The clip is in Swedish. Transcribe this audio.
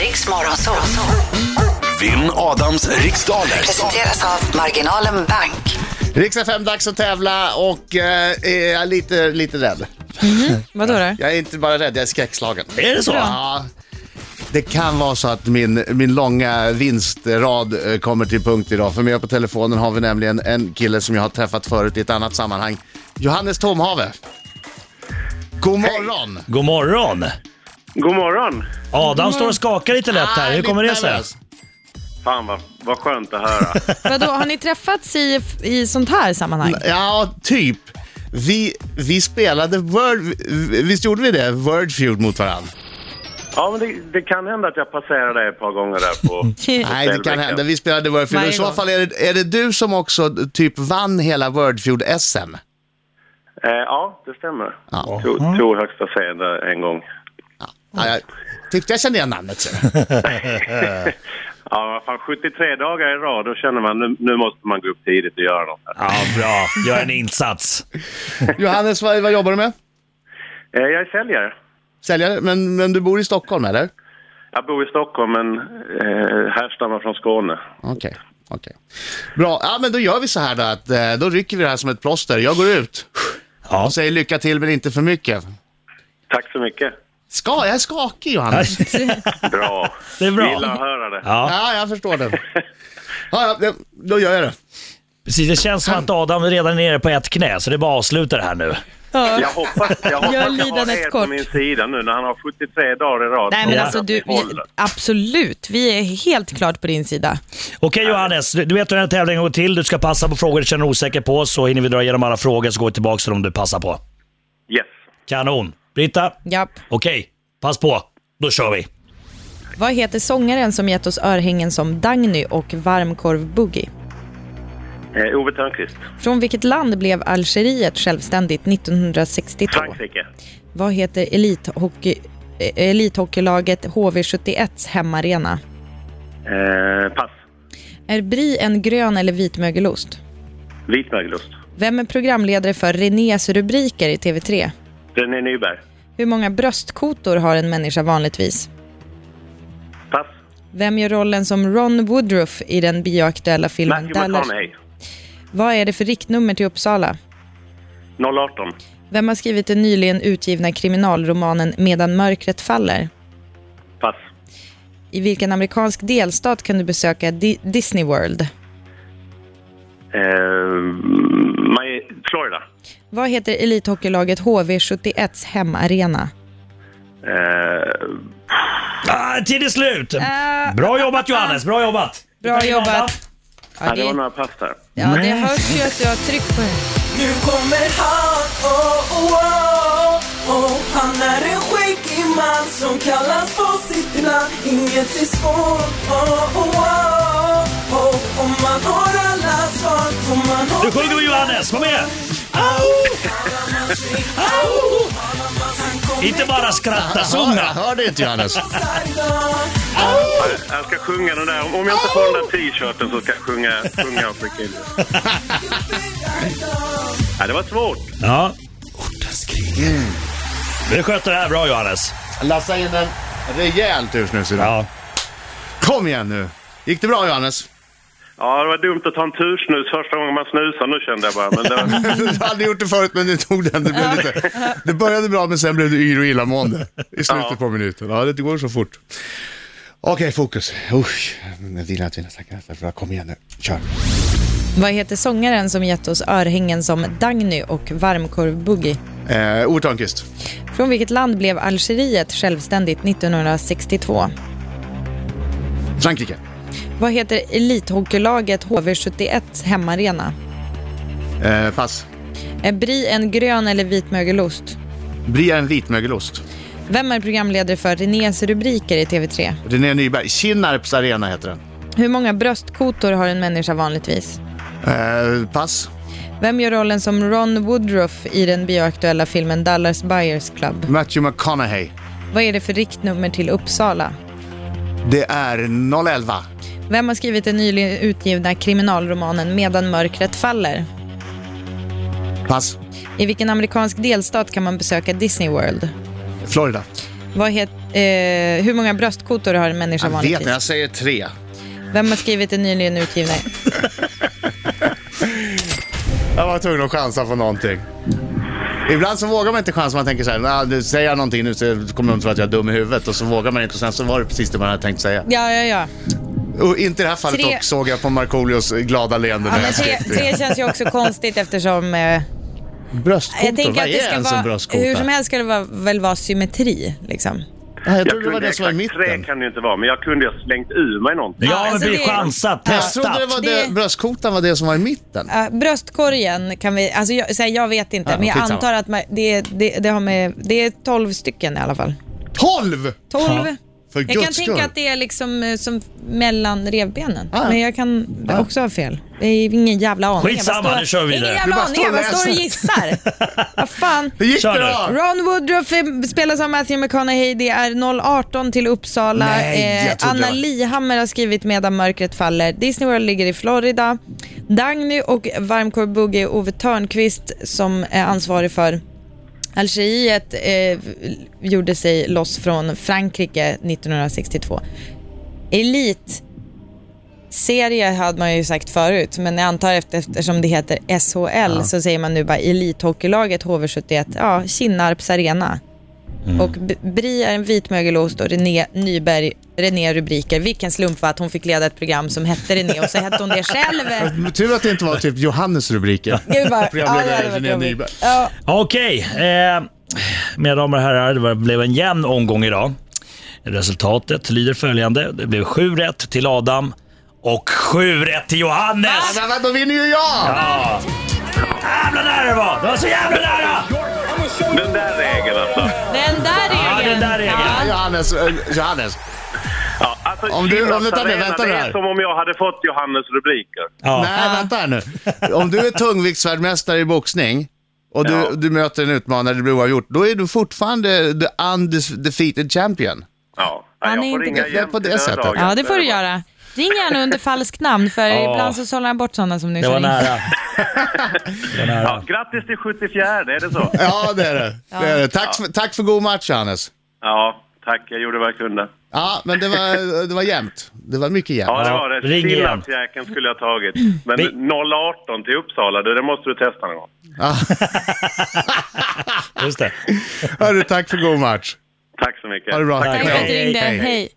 Riks Morgonzoo. Vinn Adams riksdaler. Presenteras av Marginalen Bank. Rix FM, dags att tävla och eh, är jag lite, lite rädd. Vadå då? Jag är inte bara rädd, jag är skräckslagen. Är det så? Ja. Det kan vara så att min, min långa vinstrad eh, kommer till punkt idag. För med på telefonen har vi nämligen en kille som jag har träffat förut i ett annat sammanhang. Johannes Tomhave. God morgon! God morgon! God morgon! Adam står och skakar lite lätt här. Hur kommer det sig? Fan vad, vad skönt att höra. Vadå, har ni träffats i, i sånt här sammanhang? Ja, typ. Vi, vi spelade Word... Visst gjorde vi det? Wordfeud mot varandra. Ja, men det, det kan hända att jag passerar dig ett par gånger där på... Nej, det kan Ställbäcken. hända. Vi spelade Wordfeud. Varje I så gång. fall är det, är det du som också typ vann hela Wordfeud-SM. Eh, ja, det stämmer. Ja. Mm. Tog, tog högsta segern där en gång. Ja, jag tyckte jag kände igen namnet. ser du. Ja, vad fan 73 dagar i rad, då känner man nu, nu måste man gå upp tidigt och göra något. Ja, bra. Gör en insats. Johannes, vad, vad jobbar du med? Eh, jag är säljare. Säljare? Men, men du bor i Stockholm, eller? Jag bor i Stockholm men eh, härstammar från Skåne. Okej. okej. Bra. Ja, men då gör vi så här då, att eh, då rycker vi det här som ett plåster. Jag går ut Ja. och säger lycka till, men inte för mycket. Tack så mycket. Ska, jag är skakig, Johannes. Bra. Det är bra. Gillar att höra det. Ja, Ja, jag förstår det. Ja, ja, då gör jag det. precis. Det känns som att Adam redan är nere på ett knä, så det är bara att avsluta det här nu. Ja. Jag hoppas jag, hoppas Gör jag har lidandet er på kort. min sida nu när han har 73 dagar i rad. Nej men Ja. alltså du, Håller. absolut. Vi är helt klart på din sida. Okej Johannes, du du vet hur den här tävlingen går till. Du ska passa på frågor du känner dig osäker på, så hinner vi dra igenom alla frågor, så går vi tillbaka till dem du passar på. Yes. Kanon. Britta, Japp. okej. Pass på. Då kör vi. Vad heter sångaren som gett oss örhängen som Dagny och varmkorv Boogie? Eh, Ove Thörnqvist. Från vilket land blev Algeriet självständigt 1962? Frankrike. Vad heter elithockey, eh, elithockeylaget HV71s hemmaarena? Eh, pass. Är Brie en grön eller vit mögelost? Vit mögelost. Vem är programledare för Renés rubriker i TV3? René Nyberg. Hur många bröstkotor har en människa vanligtvis? Pass. Vem gör rollen som Ron Woodruff i den bioaktuella filmen Matthew Dallas? McConaughey. Vad är det för riktnummer till Uppsala? 018. Vem har skrivit den nyligen utgivna kriminalromanen Medan mörkret faller? Pass. I vilken amerikansk delstat kan du besöka Di- Disney World? Eh, my, Florida. Vad heter elithockeylaget HV71s hemarena? Eh, Ah, tid är slut! Eh, Bra jobbat Johannes, bra jobbat! Bra jobbat. ja, Ja, det var det, några pass där. ja, det hörs ju att du har tryck på det. Nu kommer han, oh, oh, oh, oh. Han är en skäggig man som kallas på sitt land Inget är svårt, oh, oh, oh, oh. Om man har alla svar får man ha Nu sjunger vi Johannes, var med! Inte bara skratta, Jag sjunga! hörde inte Johannes. Jag ska sjunga den där. Om jag inte får den där t-shirten så ska jag sjunga, sjunga och skicka in den. ja, det var svårt. Ja. Du skötte det här bra Johannes. Lassa in en rejäl tursnus idag. Kom igen nu. Gick det bra Johannes? Ja, det var dumt att ta en tursnus första gången man snusar. Nu kände jag bara. Men det var... Du hade gjort det förut men du tog den. Det, blev lite... det började bra men sen blev du yr och illamående i slutet Ja. på minuten. Ja, det går så fort. Okej, fokus. Usch, men vila, vila, sakta, sakta. Kom igen nu, kör. Vad heter sångaren som gett oss örhängen som Dagny och varmkorv Boogie? Eh, Ove Thörnqvist. Från vilket land blev Algeriet självständigt 1962? Frankrike. Vad heter elithockeylaget HV71s hemarena? Eh, pass. Är Brie en grön eller vit mögelost? Bria en vit mögelost. Vem är programledare för Renés rubriker i TV3? René Nyberg. Kinnarps arena heter den. Hur många bröstkotor har en människa vanligtvis? Eh, pass. Vem gör rollen som Ron Woodruff i den bioaktuella filmen Dallas Buyers Club? Matthew McConaughey. Vad är det för riktnummer till Uppsala? Det är 011. Vem har skrivit den nyligen utgivna kriminalromanen Medan mörkret faller? Pass. I vilken amerikansk delstat kan man besöka Disney World? Florida. Vad, het, Eh, hur många bröstkotor har en människa Jag vet inte, jag vanligtvis? säger tre. Vem har skrivit det nyligen utgivna? Jag var tvungen att chansa på någonting. Ibland så vågar man inte chansa. Man tänker så här, "Nah, du, säger jag någonting nu så kommer de tro att jag är dum i huvudet. Och så vågar man inte och sen så var det precis det man hade tänkt säga. Ja, ja, ja. Och inte i det här fallet Tre- dock såg jag på Markoolios glada leende ja när men jag tre, skrek det. tre känns ju också konstigt eftersom... Eh, jag Bröstkotor, tänker vad att det är ska ens en vara... bröstkota? Hur som helst ska det vara, väl vara symmetri, liksom. Ja, jag Jag trodde det var kunde det som var i exakt tre mitten. kan det ju inte vara, men jag kunde ju ha slängt ur mig någonting. Ja, men alltså bli det- chansat, Jag testat. trodde det var det, Det- bröstkotan var det som var i mitten. Ja, bröstkorgen kan vi... Alltså jag, så här, jag vet inte, Ja, men jag skitsamma. antar att man, det, det, det har med... Det är 12 stycken i alla fall. 12! 12. För Jag kan guds tänka skull. att det är liksom eh, som mellan revbenen. Ah. Men jag kan också ha fel. Det är ingen jävla aning. Skitsamma, Jag bara står- nu kör vi vidare. Ingen Du jävla bara aning. står och Jag bara står och läser. gissar. Vad fan. Hur gick Kör det nu. då? Ron Woodruff eh, spelas av Matthew McConaughey. Det är 018 till Uppsala. Eh, Nej, jag trodde Anna det var- Lihammer har skrivit Medan mörkret faller. Disney World ligger i Florida. Dagny och varmkorv Boogie Ove Törnqvist som är ansvarig för Algeriet eh, gjorde sig loss från Frankrike 1962. Elit Serie hade man ju sagt förut, men jag antar efter, eftersom det heter SHL så säger man nu bara Elithockeylaget HV71, ja, Kinnarps arena. Mm. Och B- Bri är en vit mögelost och René Nyberg, René rubriker. Vilken slump var att hon fick leda ett program som hette René och så hette hon det själv. Men Tur att det inte var typ Johannes rubriker. Gud bara, ja, det Programledare hade varit René jobbigt. Nyberg. Ja, Okej, eh, mina damer och herrar, det var- blev en jämn omgång idag. Resultatet lyder följande. Det blev 7 rätt till Adam och 7 rätt till Ja, Johannes. Men vänta, då vinner ju jag! Jävla nära det var! Det var så jävla nära! Den där regeln alltså. den där regeln. Ja, den där regeln. Ja. Johannes, eh, Johannes. Ja, alltså Om du- om du- Kinnarps vänta nu, arena, vänta nu det här. är som om jag hade fått Johannes rubriker. Ja. Nej, vänta här nu. Om du är tungviktsvärldsmästare i boxning och du, Ja. du möter en utmanare, det blir oavgjort, då är du fortfarande the undefeated champion. Ja. Han jag är får inte ringa duktig jämt på det i den här sättet. dagen. ja, det får du göra. Ring gärna under falskt namn för Ja. ibland så sållar han bort sådana som nyss Det var har ringt. nära. Det var nära. Ja, grattis till 74, är det så? Ja, det är det. det, är det. Tack, för, tack för god match, Johannes. Ja, tack. Jag gjorde vad jag kunde. Ja, men det var, det var jämnt. Det var mycket jämnt. Ja, det Ja, var det. ring igen. Kinnarpsjäkeln skulle jag ha tagit. Men Vi- 018 till Uppsala, det, det måste du testa någon gång. Just det. Hörru, tack för god match. Tack så mycket. Ha det bra. Tack. Tack för att du Hej, ringde. hej, hej. Hej.